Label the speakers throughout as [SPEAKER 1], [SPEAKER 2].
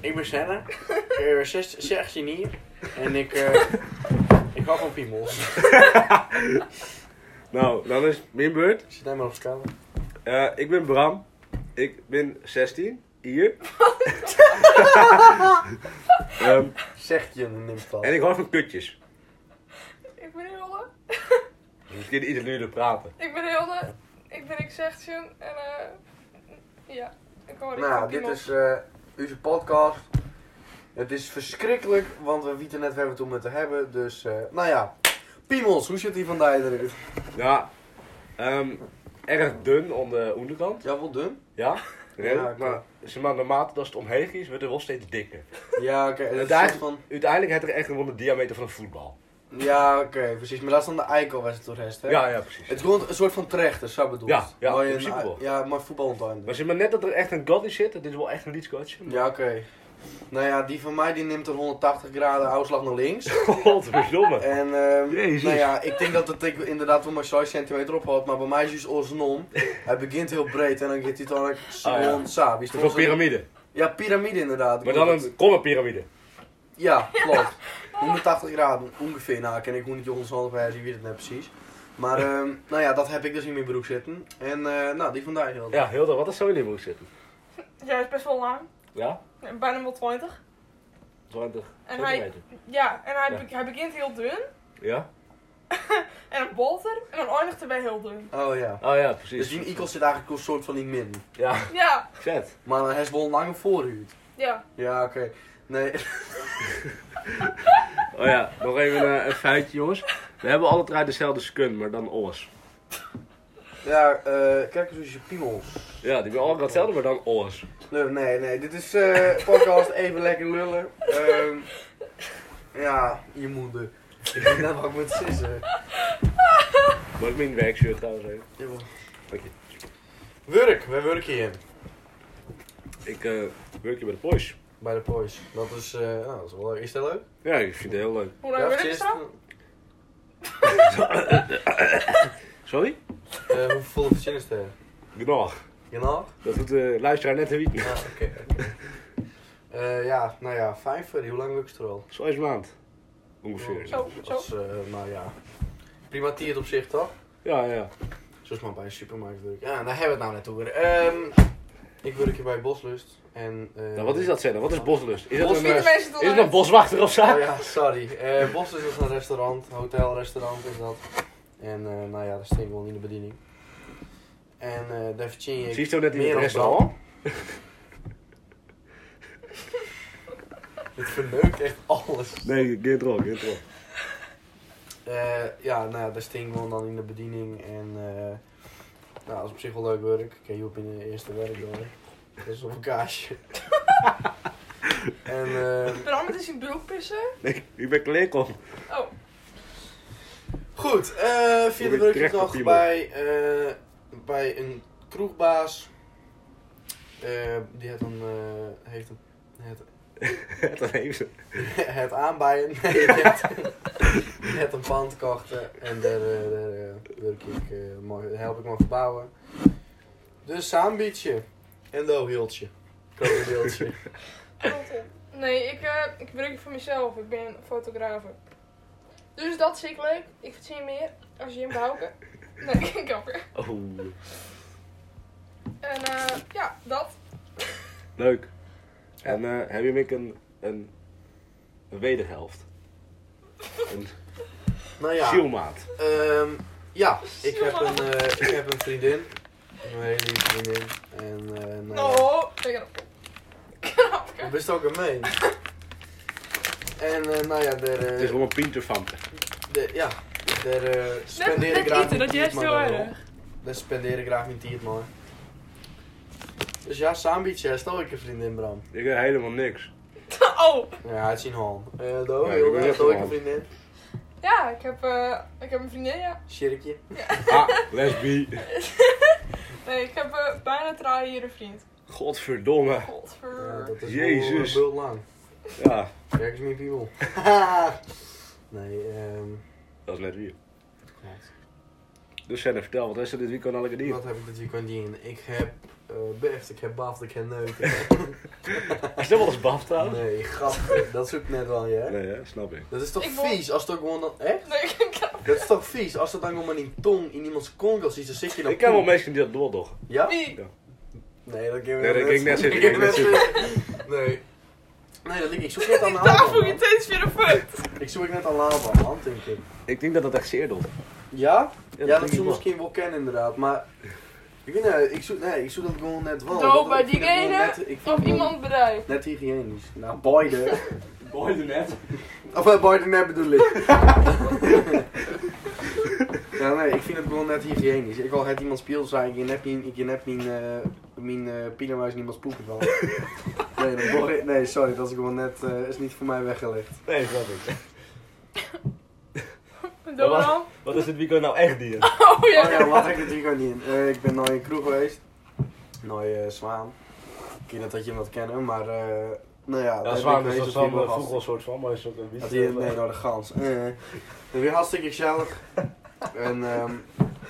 [SPEAKER 1] Ik ben Senna, eh, zes- 16 hier. En ik, eh, ik hou van piemels.
[SPEAKER 2] Nou, dan is mijn beurt.
[SPEAKER 1] Ik zit helemaal op schaal.
[SPEAKER 2] Eh, ik ben Bram. Ik ben 16. Hier. Ehm,
[SPEAKER 1] Zeg je een nimfal.
[SPEAKER 2] en ik hou van kutjes.
[SPEAKER 3] Ik ben Hilde.
[SPEAKER 2] Dus Misschien ieder nu te praten.
[SPEAKER 3] Ik ben Hilde. Ik ben Xertium. En eh. ja, ik hoor ik
[SPEAKER 1] Nou,
[SPEAKER 3] van
[SPEAKER 1] dit
[SPEAKER 3] Piemel.
[SPEAKER 1] is eh onze podcast. Het is verschrikkelijk, want we weten net waar we het om het te hebben. Dus, eh, nou ja. Piemels, hoe zit die vandaag eruit?
[SPEAKER 2] Ja. ehm, erg dun aan de onderkant.
[SPEAKER 1] Ja, wel dun.
[SPEAKER 2] Ja.
[SPEAKER 1] Ja,
[SPEAKER 2] Redelijk.
[SPEAKER 1] oké.
[SPEAKER 2] Maar, zeg maar naarmate dat het omheen is, wordt het wel steeds dikker.
[SPEAKER 1] Ja, oké. dat is
[SPEAKER 2] Daar-
[SPEAKER 1] een soort van...
[SPEAKER 2] Uiteindelijk heeft er echt gewoon de diameter van een voetbal.
[SPEAKER 1] Ja, oké, precies. Maar dat is dan de eikel was het door rest, hè?
[SPEAKER 2] Ja, ja, precies.
[SPEAKER 1] Het is gewoon een soort van trechter, zo bedoeld.
[SPEAKER 2] Ja, ja,
[SPEAKER 1] Waar je
[SPEAKER 2] in
[SPEAKER 1] een-
[SPEAKER 2] principe wel.
[SPEAKER 1] Ja, maar voetbal ontwikkelen.
[SPEAKER 2] Maar zeg maar net dat er echt een god in zit. Het is wel echt een liedskotje.
[SPEAKER 1] Ja, oké. Nou ja, die van mij die neemt een 180 graden uitslag naar links.
[SPEAKER 2] Godverdomme.
[SPEAKER 1] En ehm,
[SPEAKER 2] Jezus.
[SPEAKER 1] nou ja, ik denk dat het ik inderdaad wel maar 6 centimeter ophaalt, maar bij mij is het oorsnom. Hij begint heel breed en dan gaat hij dan ook
[SPEAKER 2] Ah, ja.
[SPEAKER 1] gewoon sabi.
[SPEAKER 2] Dat is een piramide.
[SPEAKER 1] Ja, piramide inderdaad.
[SPEAKER 2] Maar dan
[SPEAKER 1] Klopt.
[SPEAKER 2] een komme piramide.
[SPEAKER 1] Ja, klopt. 180 graden ongeveer. Nou, ken ik hoe niet jongens bij zien wie het net precies. Maar ehm, nou ja, dat heb ik dus in mijn broek zitten. En eh, nou, die vandaag heel.
[SPEAKER 2] Ja, heel dat. Wat is zo in die broek zitten?
[SPEAKER 3] Ja, is best wel lang.
[SPEAKER 2] Ja?
[SPEAKER 3] Bijna wel 20.
[SPEAKER 2] 20
[SPEAKER 3] En hij,
[SPEAKER 2] centimeter.
[SPEAKER 3] ja, en hij,
[SPEAKER 2] Ja.
[SPEAKER 3] be- hij begint heel dun.
[SPEAKER 2] Ja?
[SPEAKER 3] En een bolter. En dan eindigt hij bij heel dun.
[SPEAKER 1] Oh ja.
[SPEAKER 2] Oh ja,
[SPEAKER 1] Dus
[SPEAKER 2] precies.
[SPEAKER 1] die ikel zit eigenlijk een soort van in midden.
[SPEAKER 2] Ja,
[SPEAKER 3] Ja,
[SPEAKER 2] vet.
[SPEAKER 1] Maar hij is wel een lange voorhuid.
[SPEAKER 3] ja.
[SPEAKER 1] Ja, oké. Nee.
[SPEAKER 2] Oh ja, nog even eh, een feitje jongens. We hebben alle drie dezelfde skun, maar dan alles.
[SPEAKER 1] Ja, eh, kijk eens hoe je piemels.
[SPEAKER 2] Ja, die ben alle drie hetzelfde, maar dan alles.
[SPEAKER 1] Nee, nee, nee. Dit is eh podcast even lekker lullen. Ehm, ja, je moeder. Ik ben net ook met sissen.
[SPEAKER 2] Mag ik mijn werkshirt trouwens even?
[SPEAKER 1] Jawel.
[SPEAKER 2] Dank je.
[SPEAKER 1] Werk, wij werken hier.
[SPEAKER 2] Ik eh, werk hier bij de boys.
[SPEAKER 1] Bij de boys. Dat is, eh, nou, dat is wel leuk. Is dat leuk?
[SPEAKER 2] Ja, ik vind het heel leuk.
[SPEAKER 3] Hoe lang wil ik
[SPEAKER 1] precies.
[SPEAKER 3] zo?
[SPEAKER 2] Sorry?
[SPEAKER 1] Eh, hoeveel verzin is er?
[SPEAKER 2] Genoeg.
[SPEAKER 1] Genau?
[SPEAKER 2] Dat doet de luisteraar net een week.
[SPEAKER 1] Ja, oké. Eh, ja, nou ja, vijf. eh, Hoe lang werk je er al?
[SPEAKER 2] Zes maand. Ongeveer.
[SPEAKER 3] Zo,
[SPEAKER 1] Dat
[SPEAKER 3] zo.
[SPEAKER 1] is, eh, nou ja. Prima tiert op zich, toch?
[SPEAKER 2] Ja, ja.
[SPEAKER 1] Zoals maar bij een supermarkt werk. Ja, daar hebben we het nou net over. Ehm, ik werk hier bij Boslust. En, eh,
[SPEAKER 2] Nou, wat is dat verder? Wat is boslust? Is dat
[SPEAKER 1] Bos-
[SPEAKER 2] een,
[SPEAKER 3] Vinden
[SPEAKER 2] eh,
[SPEAKER 3] mensen het
[SPEAKER 2] is dat
[SPEAKER 3] leuk?
[SPEAKER 2] een boswachter of zo?
[SPEAKER 1] Oh ja, sorry. Eh Boslust is een restaurant, hotelrestaurant is dat. En eh, nou ja, dat steekt wel in de bediening. En eh daar verdien je...
[SPEAKER 2] Zie je zo net in
[SPEAKER 1] meer
[SPEAKER 2] het
[SPEAKER 1] dan
[SPEAKER 2] restaurant?
[SPEAKER 1] Het verneukt echt alles.
[SPEAKER 2] Nee, geen droog, geen droog.
[SPEAKER 1] Eh, ja, nou ja, daar sting gewoon dan in de bediening en eh nou, dat is op zich wel leuk werk. Ik heb op in de eerste werk door. Dat is op een kaasje. en eh,
[SPEAKER 3] Bram, het is in broek pissen.
[SPEAKER 2] Nee, ik ben kleerkom.
[SPEAKER 3] Oh,
[SPEAKER 1] goed, eh
[SPEAKER 2] Moet
[SPEAKER 1] vierde
[SPEAKER 2] ik
[SPEAKER 1] werk ik
[SPEAKER 2] terecht op
[SPEAKER 1] nog
[SPEAKER 2] iemand?
[SPEAKER 1] bij, eh, bij een kroegbaas. Eh, die heeft een, eh, heeft een, het,
[SPEAKER 2] Dat heeft ze.
[SPEAKER 1] het aanbijen. Nee, die heeft, die heeft een pand kocht eh, en daar, eh, daar eh, werk ik, eh, mooi, daar help ik me verbouwen. Dus saambietje. En dat hieltje. Krokodiltje.
[SPEAKER 3] kloten. Nee, ik, eh, ik werk voor mezelf. Ik ben fotograaf. Dus dat is ik leuk. Ik verzin meer. Als je hem behouden. Nee, ik ook.
[SPEAKER 2] Oh,
[SPEAKER 3] En eh, ja, dat.
[SPEAKER 2] leuk. En eh, heb je Mick een, een, een wederhelft? Een
[SPEAKER 1] nou
[SPEAKER 2] ja.
[SPEAKER 1] ja, ehm, ja ik, heb een, eh, ik heb een vriendin. Een hele lieve vriendin. En eh nou, ja,
[SPEAKER 3] Oh, ik heb een
[SPEAKER 1] dat best ook een mee. En eh, nou ja, daar, eh,
[SPEAKER 2] Het is gewoon een pintje van.
[SPEAKER 1] de- ja, daar eh, spendeer ik
[SPEAKER 3] net
[SPEAKER 1] graag
[SPEAKER 3] eten,
[SPEAKER 1] mijn
[SPEAKER 3] dat juist
[SPEAKER 1] tijd,
[SPEAKER 3] heel
[SPEAKER 1] maar dan
[SPEAKER 3] erg.
[SPEAKER 1] wel. Dan spendeer ik graag mijn tijd maar. Dus ja, saambietje, stel ik een vriendin Bram.
[SPEAKER 2] Ik heb helemaal niks.
[SPEAKER 3] Oh!
[SPEAKER 1] Ja, het is een hal. Eh
[SPEAKER 2] Ja,
[SPEAKER 1] doe,
[SPEAKER 2] ik ben
[SPEAKER 1] heel
[SPEAKER 2] net
[SPEAKER 1] stel ik
[SPEAKER 2] een
[SPEAKER 1] een
[SPEAKER 2] hal.
[SPEAKER 1] vriendin.
[SPEAKER 3] Ja, ik heb, eh, ik heb een vriendin, ja.
[SPEAKER 1] Sjerkje.
[SPEAKER 2] Ah, lesbi.
[SPEAKER 3] Nee, ik heb eh, bijna trouw hier een vriend.
[SPEAKER 2] Godverdomme.
[SPEAKER 1] Ja,
[SPEAKER 3] Godver.
[SPEAKER 1] Eh, dat is
[SPEAKER 2] Jezus.
[SPEAKER 1] Jezus. lang.
[SPEAKER 2] Ja,
[SPEAKER 1] Kijk eens mijn piemel. nee, ehm.
[SPEAKER 2] dat is net wie.
[SPEAKER 1] god.
[SPEAKER 2] Dus Senne, vertel, wat is er dit weekend al gedaan?
[SPEAKER 1] Wat heb ik dit weekend gedaan? Ik heb eh, Bert, ik heb baft, ik heb neuken.
[SPEAKER 2] Is dat wel eens baf trouwens?
[SPEAKER 1] Nee, grappig. Dat zoek ik net wel, ja.
[SPEAKER 2] Nee, hè? snap ik.
[SPEAKER 1] Dat is toch
[SPEAKER 3] Ik wil-
[SPEAKER 1] vies als dat gewoon dan. Echt?
[SPEAKER 3] Nee, ik kan
[SPEAKER 1] Dat is toch vies als dat dan gewoon met een tong in iemands konk als iets, dan zit je dan.
[SPEAKER 2] Ik ken wel
[SPEAKER 1] mee.
[SPEAKER 2] mensen die dat doen, toch?
[SPEAKER 1] Ja?
[SPEAKER 3] niet.
[SPEAKER 1] Nee, dat ging
[SPEAKER 2] Nee, dat ging net zitten,
[SPEAKER 1] ging
[SPEAKER 2] dat ging
[SPEAKER 1] net zitten. Nee. Nee, dat liep ik. zoek net aan de
[SPEAKER 3] Daar voel
[SPEAKER 1] Laban.
[SPEAKER 3] je
[SPEAKER 1] man.
[SPEAKER 3] steeds weer een fout.
[SPEAKER 1] Ik zoek net aan Laban, man, denk ik.
[SPEAKER 2] Ik denk dat dat echt zeer doet.
[SPEAKER 1] Ja? Ja,
[SPEAKER 2] denk
[SPEAKER 1] dat
[SPEAKER 2] ik
[SPEAKER 1] zou
[SPEAKER 2] wel.
[SPEAKER 1] misschien wel kennen, inderdaad. Maar ik weet niet, ik zoek, nee, ik zoek dat gewoon net wel.
[SPEAKER 3] Nou,
[SPEAKER 1] Want
[SPEAKER 3] bij
[SPEAKER 1] ik vind het gewoon
[SPEAKER 3] diegene
[SPEAKER 1] net- ik vind het
[SPEAKER 3] Of
[SPEAKER 1] gewoon
[SPEAKER 3] iemand bedrijf.
[SPEAKER 1] Net hygiënisch. Nou, beide.
[SPEAKER 2] Boy, doe net.
[SPEAKER 1] Of uh, Biden net bedoel ik. ja, nee, ik vind het gewoon net hygiënisch. Ik al het iemand speel zijn, ik heb niet, ik heb niet, eh mijn eh, pinemuis in iemands poepen van. Nee, dat mag ik- nee, sorry, dat is gewoon net, eh, is niet voor mij weggelegd.
[SPEAKER 2] Nee, snap ik.
[SPEAKER 3] Doe
[SPEAKER 2] was-
[SPEAKER 3] dan.
[SPEAKER 2] Wat is dit weekend nou echt niet?
[SPEAKER 3] Oh
[SPEAKER 1] Oh ja,
[SPEAKER 3] ja.
[SPEAKER 1] wat heb ik natuurlijk ook niet in. Eh, ik ben nooit in een kroeg geweest. Nooit eh, Zwaan. Ik weet niet dat je hem dat kennen, maar eh nou ja. daar
[SPEAKER 2] Ja,
[SPEAKER 1] ben
[SPEAKER 2] zwaar,
[SPEAKER 1] ik
[SPEAKER 2] dus
[SPEAKER 1] geweest, dus
[SPEAKER 2] dat is
[SPEAKER 1] die
[SPEAKER 2] wel
[SPEAKER 1] was-
[SPEAKER 2] vroeger een soort van, maar is ook een
[SPEAKER 1] Dat hij, nee, door de gans. Eh. Dat weer hartstikke gezellig. En ehm,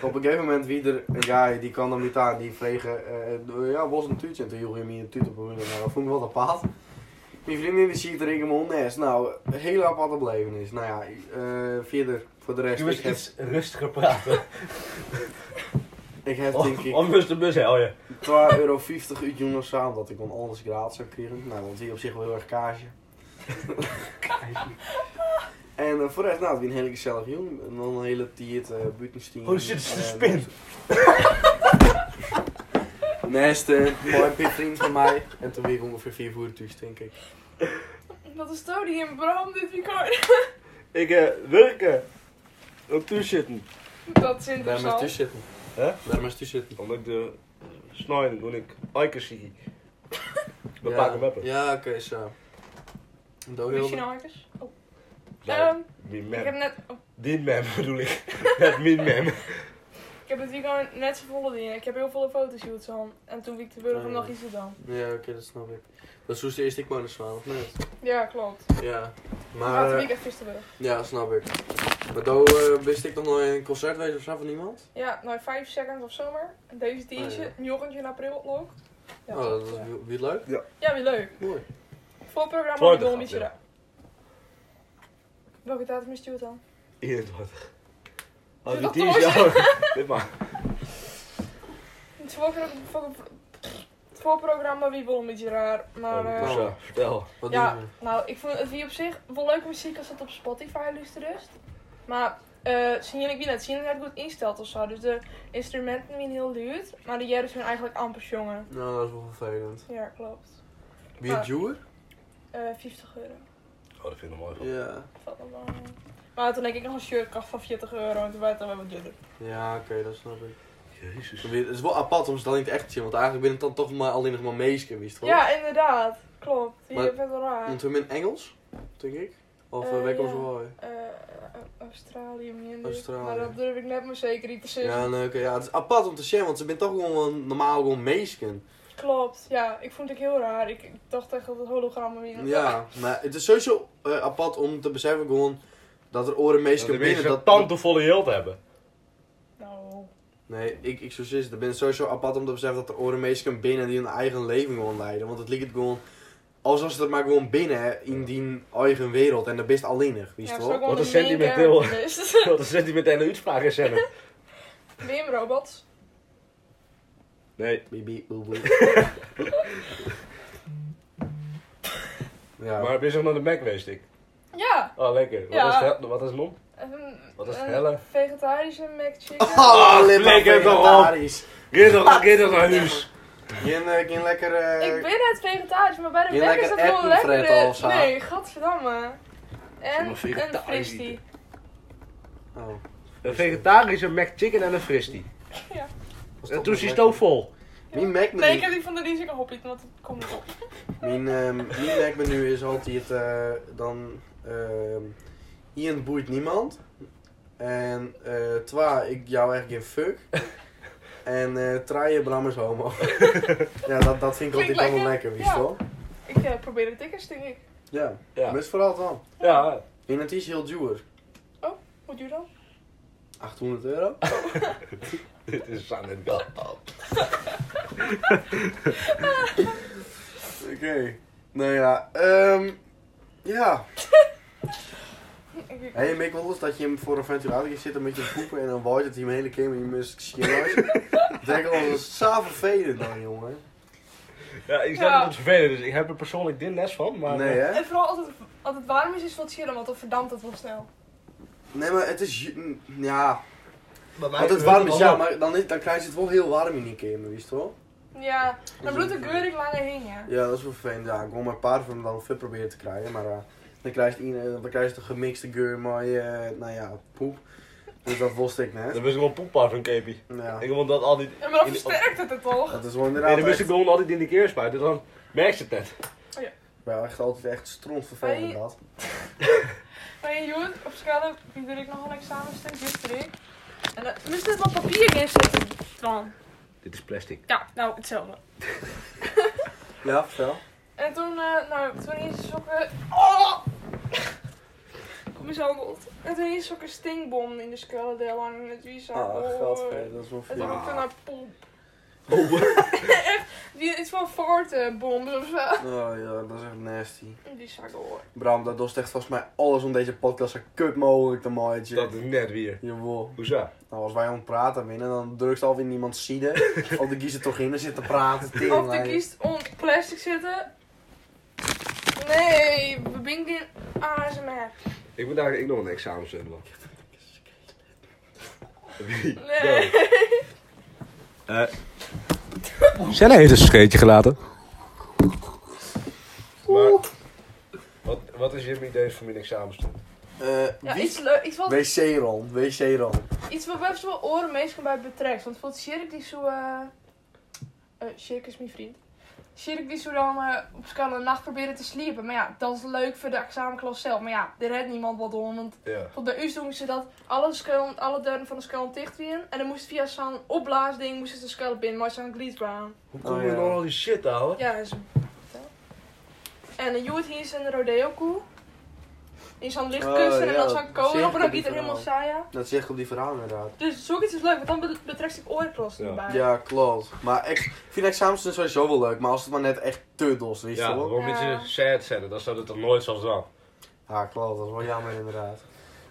[SPEAKER 1] op een gegeven moment, wie er, een guy die kan dan niet aan, die vegen, eh ja, was een tuutje. En toen joeg hij me een tuut op mijn rug. Nou, dat vond ik wel apart. Mijn vriendin die ziet er in mijn nes. Nou, een hele aparte belevenis. Nou ja, eh, verder, voor de rest, ik heb,
[SPEAKER 2] rustiger praten.
[SPEAKER 1] ik heb denk
[SPEAKER 2] Of
[SPEAKER 1] ik
[SPEAKER 2] of moest de bus hel je.
[SPEAKER 1] 2,50 euro uit jongens samen, dat ik dan alles gratis zou krijgen. Nou, dat zie je op zich wel heel erg kaasje. En eh, voor de rest, nou, het was een hele gezellig jong. En dan een hele tiert, eh buitensteam.
[SPEAKER 2] Oh shit, is het een
[SPEAKER 1] En-
[SPEAKER 2] spin?
[SPEAKER 1] Neste, eh, mooi een vriend van mij. En toen weer ongeveer vier voertuigen, denk ik.
[SPEAKER 3] Dat is Tony en Bram dit weekend.
[SPEAKER 2] Ik eh, werken. Ook toezitten.
[SPEAKER 3] Dat is
[SPEAKER 1] Daar maar
[SPEAKER 3] interessant.
[SPEAKER 1] tussen zitten.
[SPEAKER 2] Hè?
[SPEAKER 1] Daar maar tussen zitten.
[SPEAKER 2] Omdat ik de snijden, toen ik eiken zie. We
[SPEAKER 1] Ja.
[SPEAKER 2] pakken weppen.
[SPEAKER 1] Ja, oké, zo. En dan
[SPEAKER 3] Misschien
[SPEAKER 1] heel-
[SPEAKER 3] harkers. Oh.
[SPEAKER 2] Zij-
[SPEAKER 3] Ehm,
[SPEAKER 2] Min
[SPEAKER 3] Ik heb
[SPEAKER 2] mem.
[SPEAKER 3] net, oh,
[SPEAKER 2] Dit mem bedoel ik. Het min mem.
[SPEAKER 3] ik heb het weekend net zo volle dingen. Ik heb heel veel fotoshoots aan. En toen wiek de burger
[SPEAKER 1] Oh, ja.
[SPEAKER 3] nog iets dan.
[SPEAKER 1] Ja, oké, dat snap ik. Dat is hoe ze eerst ik maar naar Zwaan, of net?
[SPEAKER 3] Ja, klopt.
[SPEAKER 1] Ja. Maar,
[SPEAKER 3] Maar
[SPEAKER 1] eh,
[SPEAKER 3] toen ik echt gisteren weer.
[SPEAKER 1] ja, snap ik. Maar dan eh, wist ik nog nooit in een concert geweest of zo van iemand?
[SPEAKER 3] Ja, nou 5 seconds of zomer. En Deze
[SPEAKER 1] Oh,
[SPEAKER 3] tientje, jochentje in april leuk. Ja,
[SPEAKER 1] oh, dat was
[SPEAKER 3] ja.
[SPEAKER 1] weer- weer leuk.
[SPEAKER 3] ja, weer leuk.
[SPEAKER 1] Mooi.
[SPEAKER 3] Voorprogramma
[SPEAKER 2] Voor
[SPEAKER 3] van
[SPEAKER 2] de
[SPEAKER 3] Dolby
[SPEAKER 2] grap,
[SPEAKER 3] beetje
[SPEAKER 2] ja.
[SPEAKER 3] raar. Welke datum is het dan?
[SPEAKER 2] 21.
[SPEAKER 3] Doe
[SPEAKER 2] Als Oh, die
[SPEAKER 3] dat
[SPEAKER 2] tien
[SPEAKER 3] toch eens.
[SPEAKER 2] jaar. Dit maar.
[SPEAKER 3] Het voorprogramma, voor- het voorprogramma wie wil een beetje raar, maar...
[SPEAKER 2] Oh,
[SPEAKER 3] eh,
[SPEAKER 2] dus, ja, Vertel.
[SPEAKER 1] Wat
[SPEAKER 3] ja,
[SPEAKER 1] doen we?
[SPEAKER 3] nou, ik vond het wie op zich wel leuke muziek als het op Spotify luistert. Maar eh zie je, ik weet net, zie je net goed instelt of zo. Dus de instrumenten zijn heel duur, maar de jaren zijn eigenlijk amper jongen.
[SPEAKER 1] Nou, dat is wel vervelend.
[SPEAKER 3] Ja, klopt.
[SPEAKER 1] Wie een
[SPEAKER 3] Ah.
[SPEAKER 1] Jewer?
[SPEAKER 3] Eh 50 euro.
[SPEAKER 2] Oh, dat vind ik mooi.
[SPEAKER 1] Ja.
[SPEAKER 3] Valt nog wel. mee. Maar toen denk ik nog een shirt kocht van 40 euro en toen werd het wel wat duurder.
[SPEAKER 1] Ja, oké, dat snap ik.
[SPEAKER 2] Jezus.
[SPEAKER 1] Het is wel apart om ze dan niet echt te zien, want eigenlijk ben ik dan toch maar alleen nog maar meesken, wist toch?
[SPEAKER 3] Ja, inderdaad. Klopt. Je
[SPEAKER 1] Maar-
[SPEAKER 3] bent wel raar.
[SPEAKER 1] En toen in Engels, denk ik. Of
[SPEAKER 3] Eh,
[SPEAKER 1] uh, Wekels
[SPEAKER 3] ja.
[SPEAKER 1] Roy.
[SPEAKER 3] Eh, Australië minder.
[SPEAKER 1] Australië.
[SPEAKER 3] Maar dat durf ik net maar zeker niet te zeggen.
[SPEAKER 1] Ja, nee, oké, ja, het is apart om te zien, want ze bent toch gewoon een- normaal gewoon meesken.
[SPEAKER 3] Klopt, ja. Ik vond het ook heel raar. Ik, ik dacht echt dat het hologrammen weer...
[SPEAKER 1] Ja, maar het is sowieso eh, apart om te beseffen gewoon dat er oren
[SPEAKER 2] Dat de
[SPEAKER 1] meesken binnen.
[SPEAKER 2] mensen
[SPEAKER 1] Dat,
[SPEAKER 2] dat tandenvolle hield hebben.
[SPEAKER 3] Nou...
[SPEAKER 1] nee, ik, ik zo zit. Het is sowieso apart om te beseffen dat er oren meesken binnen die hun eigen leven gewoon leiden. Want het ligt gewoon, alsof ze het maar gewoon binnen hè, in die eigen wereld. En dat best alleenig, wist
[SPEAKER 3] Ja,
[SPEAKER 1] wel.
[SPEAKER 2] Wat een sentimenteel.
[SPEAKER 3] Wim
[SPEAKER 2] Dat zit hij meteen een uitspraak in zetten.
[SPEAKER 3] robots.
[SPEAKER 2] Nee.
[SPEAKER 1] Beep, beep, boep, boep. ja.
[SPEAKER 2] Maar ben je zeg maar de Mac geweest, ik?
[SPEAKER 3] Ja.
[SPEAKER 2] Oh, lekker. Wat
[SPEAKER 3] Ja.
[SPEAKER 2] is het? Wat is het nom?
[SPEAKER 3] Een,
[SPEAKER 2] Wat is
[SPEAKER 3] een
[SPEAKER 2] helle?
[SPEAKER 3] Vegetarische McChicken.
[SPEAKER 1] Oh,
[SPEAKER 2] Ah,
[SPEAKER 1] lekker
[SPEAKER 2] flikker toch op.
[SPEAKER 1] vegetarisch.
[SPEAKER 2] Geer toch, geer toch naar huis.
[SPEAKER 1] Geen, eh, geen lekker... eh,
[SPEAKER 3] Ik ben net vegetarisch, maar bij de
[SPEAKER 1] Je
[SPEAKER 3] Mac is
[SPEAKER 1] lekker
[SPEAKER 3] dat wel
[SPEAKER 1] appelfret
[SPEAKER 3] lekker.
[SPEAKER 1] of zo.
[SPEAKER 3] Nee, gadverdamme. En
[SPEAKER 2] maar
[SPEAKER 3] een
[SPEAKER 2] vegetarisch
[SPEAKER 3] fristie.
[SPEAKER 2] eten.
[SPEAKER 1] Oh.
[SPEAKER 2] Een vegetarische McChicken en een fristie.
[SPEAKER 1] was
[SPEAKER 2] En
[SPEAKER 1] toch
[SPEAKER 2] toen
[SPEAKER 1] wel
[SPEAKER 2] is die
[SPEAKER 1] lekker.
[SPEAKER 2] stoof vol.
[SPEAKER 1] Mijn Mac-menu
[SPEAKER 3] Nee, ik heb die van de Riesing al opgeten, want het komt niet op.
[SPEAKER 1] mijn, ehm, mijn Mac-menu is altijd eh, dan... ehm Ian boeit niemand. En eh twa, ik jou echt geen fuck. en eh traaien Bram is homo. ja, dat, dat vind ik altijd wel
[SPEAKER 3] Klinkt lekker.
[SPEAKER 1] lekker, wist
[SPEAKER 3] Ja.
[SPEAKER 1] wel.
[SPEAKER 3] Ik eh, probeer de tickets, denk ik.
[SPEAKER 1] Ja,
[SPEAKER 2] Ja.
[SPEAKER 1] maar het is vooral het wel.
[SPEAKER 2] Ja.
[SPEAKER 1] En het is heel duur.
[SPEAKER 3] Wat doe je dan?
[SPEAKER 1] 800 euro.
[SPEAKER 2] Dit is aan het bal.
[SPEAKER 1] Oké. Nou ja, ehm ja. Hé, hey, Mick, wel eens dat je hem voor een ventilator zit en met je poepen en dan waait het hij hem hele keer met je musk schillen. Denk al, dat is zo vervelend dan, jongen.
[SPEAKER 2] Ja, ik
[SPEAKER 3] Ja.
[SPEAKER 2] sta niet op vervelen, dus ik heb er persoonlijk dit les van. Maar eh,
[SPEAKER 1] Nee, hè?
[SPEAKER 3] En vooral als het, als het warm is, is het wat chillen, want dan verdampt het wel snel.
[SPEAKER 1] Nee, maar het is... ju- mm, Ja,
[SPEAKER 4] Maar wij
[SPEAKER 1] want het
[SPEAKER 4] kunnen
[SPEAKER 1] warm
[SPEAKER 4] wel
[SPEAKER 1] is, ja,
[SPEAKER 4] op.
[SPEAKER 1] maar dan, is, dan krijg je het wel heel warm in die keer, maar wist je wel?
[SPEAKER 3] Ja, dan
[SPEAKER 1] is
[SPEAKER 3] bloedt de
[SPEAKER 1] ook-
[SPEAKER 3] geurig langer heen, ja.
[SPEAKER 1] Ja, dat is wel vervelend. Ja, ik wil maar een paar van dan fit proberen te krijgen, maar eh, dan krijg je het in- eh, dan krijg je de gemixte geur, maar eh, nou ja, poep. Dus dat was ik net.
[SPEAKER 2] dan wist ik wel poepa van Kepi.
[SPEAKER 1] Ja,
[SPEAKER 2] Ik vond dat altijd.
[SPEAKER 3] En maar dan
[SPEAKER 2] in de-
[SPEAKER 3] versterkt het het toch?
[SPEAKER 1] dat is wel inderdaad
[SPEAKER 2] Nee, dan wist ik
[SPEAKER 1] echt,
[SPEAKER 2] gewoon altijd in de keerspuit, dus dan merk je het net.
[SPEAKER 1] wel echt altijd echt strontvervelend
[SPEAKER 3] Hey.
[SPEAKER 1] dat.
[SPEAKER 3] Maar je Joet, op schaal nu doe ik nog een examenstuk, gisteren ik. En eh, dan moest er wat papier in zitten, Twan.
[SPEAKER 2] Dit is plastic.
[SPEAKER 3] Ja, nou, hetzelfde.
[SPEAKER 1] Ja, vertel.
[SPEAKER 3] En toen, eh, nou, toen is de sokken... Oh! Kom eens aan bod. En toen is sokken stinkbom in de skullen lang en het wies aan.
[SPEAKER 1] Ah,
[SPEAKER 3] Oh.
[SPEAKER 1] gadver, dat is wel
[SPEAKER 3] Het rookte
[SPEAKER 1] vervelend.
[SPEAKER 3] naar poep. Die, iets van fartenbom of zo.
[SPEAKER 1] Oh ja, dat is echt nasty.
[SPEAKER 3] Die zak hoor.
[SPEAKER 1] Bram, dat doet echt volgens mij alles om deze podcast zo kut mogelijk te maken.
[SPEAKER 2] Dat is net weer.
[SPEAKER 1] Jawel.
[SPEAKER 2] Hoezo?
[SPEAKER 1] Nou, als wij aan het praten binnen, dan drukt al in iemands zieden. of de kiezer toch in en zit te praten.
[SPEAKER 3] Of de
[SPEAKER 1] teringlijn.
[SPEAKER 3] kiest om plastic zitten. Nee, we bingen in ASMR.
[SPEAKER 2] Ik moet eigenlijk nog een examen hebben.
[SPEAKER 3] Nee.
[SPEAKER 2] Eh. Senna heeft een scheetje gelaten. Maar, wat, wat is je idee voor mijn examenstond?
[SPEAKER 1] Eh,
[SPEAKER 3] Ja,
[SPEAKER 1] wie-
[SPEAKER 3] iets, leu- iets wat
[SPEAKER 1] Wc-rol, wc-rol.
[SPEAKER 3] Iets wat best wel oren meestal bij betrekt. Want bijvoorbeeld Sjerk die zo... eh eh, Sjerk is mijn vriend. Sjerk die zo dan eh, op schaal een nacht proberen te sliepen. Maar ja, dat is leuk voor de examenklas zelf. Maar ja, er redt niemand wat om. Want
[SPEAKER 2] Ja.
[SPEAKER 3] tot bij ons doen ze dat alle, skuil, alle deuren van de schaal dicht weer. En dan moest via zo'n opblaasding moest de schaal binnen. Maar zo'n gliedbaan.
[SPEAKER 2] Hoe
[SPEAKER 1] kom je nou
[SPEAKER 2] al die shit, ouwe?
[SPEAKER 3] Ja, dat is een... En een Joet hier is een rodeo-koe. Die is aan het licht
[SPEAKER 1] Oh,
[SPEAKER 3] kussen en
[SPEAKER 1] ja,
[SPEAKER 3] dan zo'n
[SPEAKER 1] dat zie
[SPEAKER 3] kolen
[SPEAKER 1] ik
[SPEAKER 3] op en dan
[SPEAKER 1] op die
[SPEAKER 3] biedt er helemaal
[SPEAKER 1] verhaal.
[SPEAKER 3] saai aan.
[SPEAKER 1] Dat zeg ik op die verhaal inderdaad.
[SPEAKER 3] Dus zoiets is leuk, want dan be- betrekt ik oorklas
[SPEAKER 2] Ja.
[SPEAKER 3] erbij.
[SPEAKER 1] Ja, klopt. Maar ik vind examens dus sowieso wel leuk, maar als het maar net echt te dos is,
[SPEAKER 2] Ja,
[SPEAKER 1] toch?
[SPEAKER 2] waarom
[SPEAKER 3] Ja.
[SPEAKER 2] iets sad zetten? Dan zou het toch nooit zoals dan.
[SPEAKER 1] Ja, klopt. Dat is wel jammer inderdaad.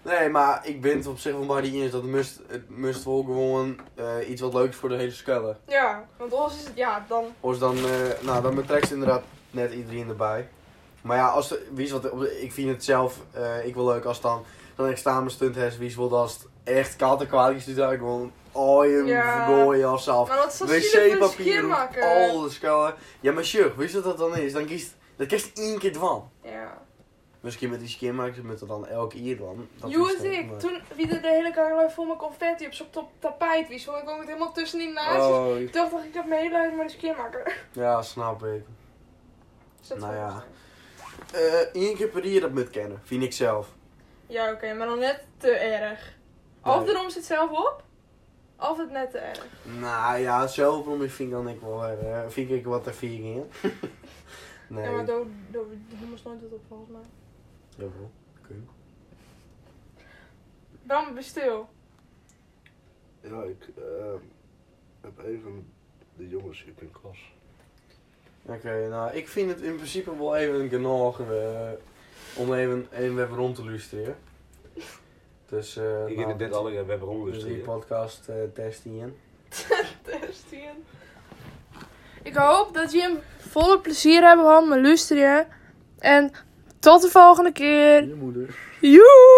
[SPEAKER 1] Nee, maar ik ben het op zich van bij die eens dat het must, het must wel gewoon eh, iets wat leuk is voor de hele skellen.
[SPEAKER 3] Ja, want ons is het, ja, dan.
[SPEAKER 1] Of dan, eh, nou dan betrekt ze inderdaad net iedereen erbij. Maar ja, als de, wie is wat, ik vind het zelf, eh, ik wil leuk als dan dan examenstunt has, wie is wel als het echt kalte kwalijk is, die daar gewoon, oh je
[SPEAKER 3] Ja.
[SPEAKER 1] vergooien of zo.
[SPEAKER 3] Maar dat is dat zielig voor
[SPEAKER 1] wc-papier
[SPEAKER 3] schier
[SPEAKER 1] en
[SPEAKER 3] maken.
[SPEAKER 1] al de schellen. Ja, maar sure, wist je wat dat dan is? Dan kiest, dat kiest één keer dwan.
[SPEAKER 3] Ja.
[SPEAKER 1] Misschien met die skinmakers met er dan elke ier dan. Dat is
[SPEAKER 3] Joet
[SPEAKER 1] dan,
[SPEAKER 3] ik,
[SPEAKER 1] maar-
[SPEAKER 3] toen wie de de hele kamer vol met confetti op zo'n top tapijt wies, want ik kwam het helemaal tussen die naadjes.
[SPEAKER 1] Oh,
[SPEAKER 3] Ik dacht dat ik dat mijn hele huid maar eens keer maken.
[SPEAKER 1] ja, snap ik.
[SPEAKER 3] Is dat
[SPEAKER 1] Nou
[SPEAKER 3] zo?
[SPEAKER 1] ja. Eh één keer per jaar dat moet kennen, vind ik zelf.
[SPEAKER 3] Ja, oké, maar dan net te erg. Of
[SPEAKER 1] Nee.
[SPEAKER 3] de rom zit zelf op, of het net te erg.
[SPEAKER 1] Nou ja, zelf om ik vind dan ik wel, eh, vind ik wat er vier in. nee.
[SPEAKER 3] Ja, maar door de hommels nooit dat op volgens mij.
[SPEAKER 1] Jawel, kun.
[SPEAKER 3] Bram, ben stil.
[SPEAKER 2] Ja, ik ehm, heb even de jongens in mijn klas.
[SPEAKER 1] Oké, nou ik vind het in principe wel even genoeg eh, om even, even, even rond te lustreren. Dus eh
[SPEAKER 2] Ik
[SPEAKER 1] nou,
[SPEAKER 2] heb dit alle we hebben
[SPEAKER 1] dus die
[SPEAKER 2] omgestuurd.
[SPEAKER 1] podcast eh test in.
[SPEAKER 3] Testen. Ik hoop dat jullie hem volle plezier hebben gehad met luisteren. En tot de volgende keer.
[SPEAKER 2] moeder.
[SPEAKER 3] Joe!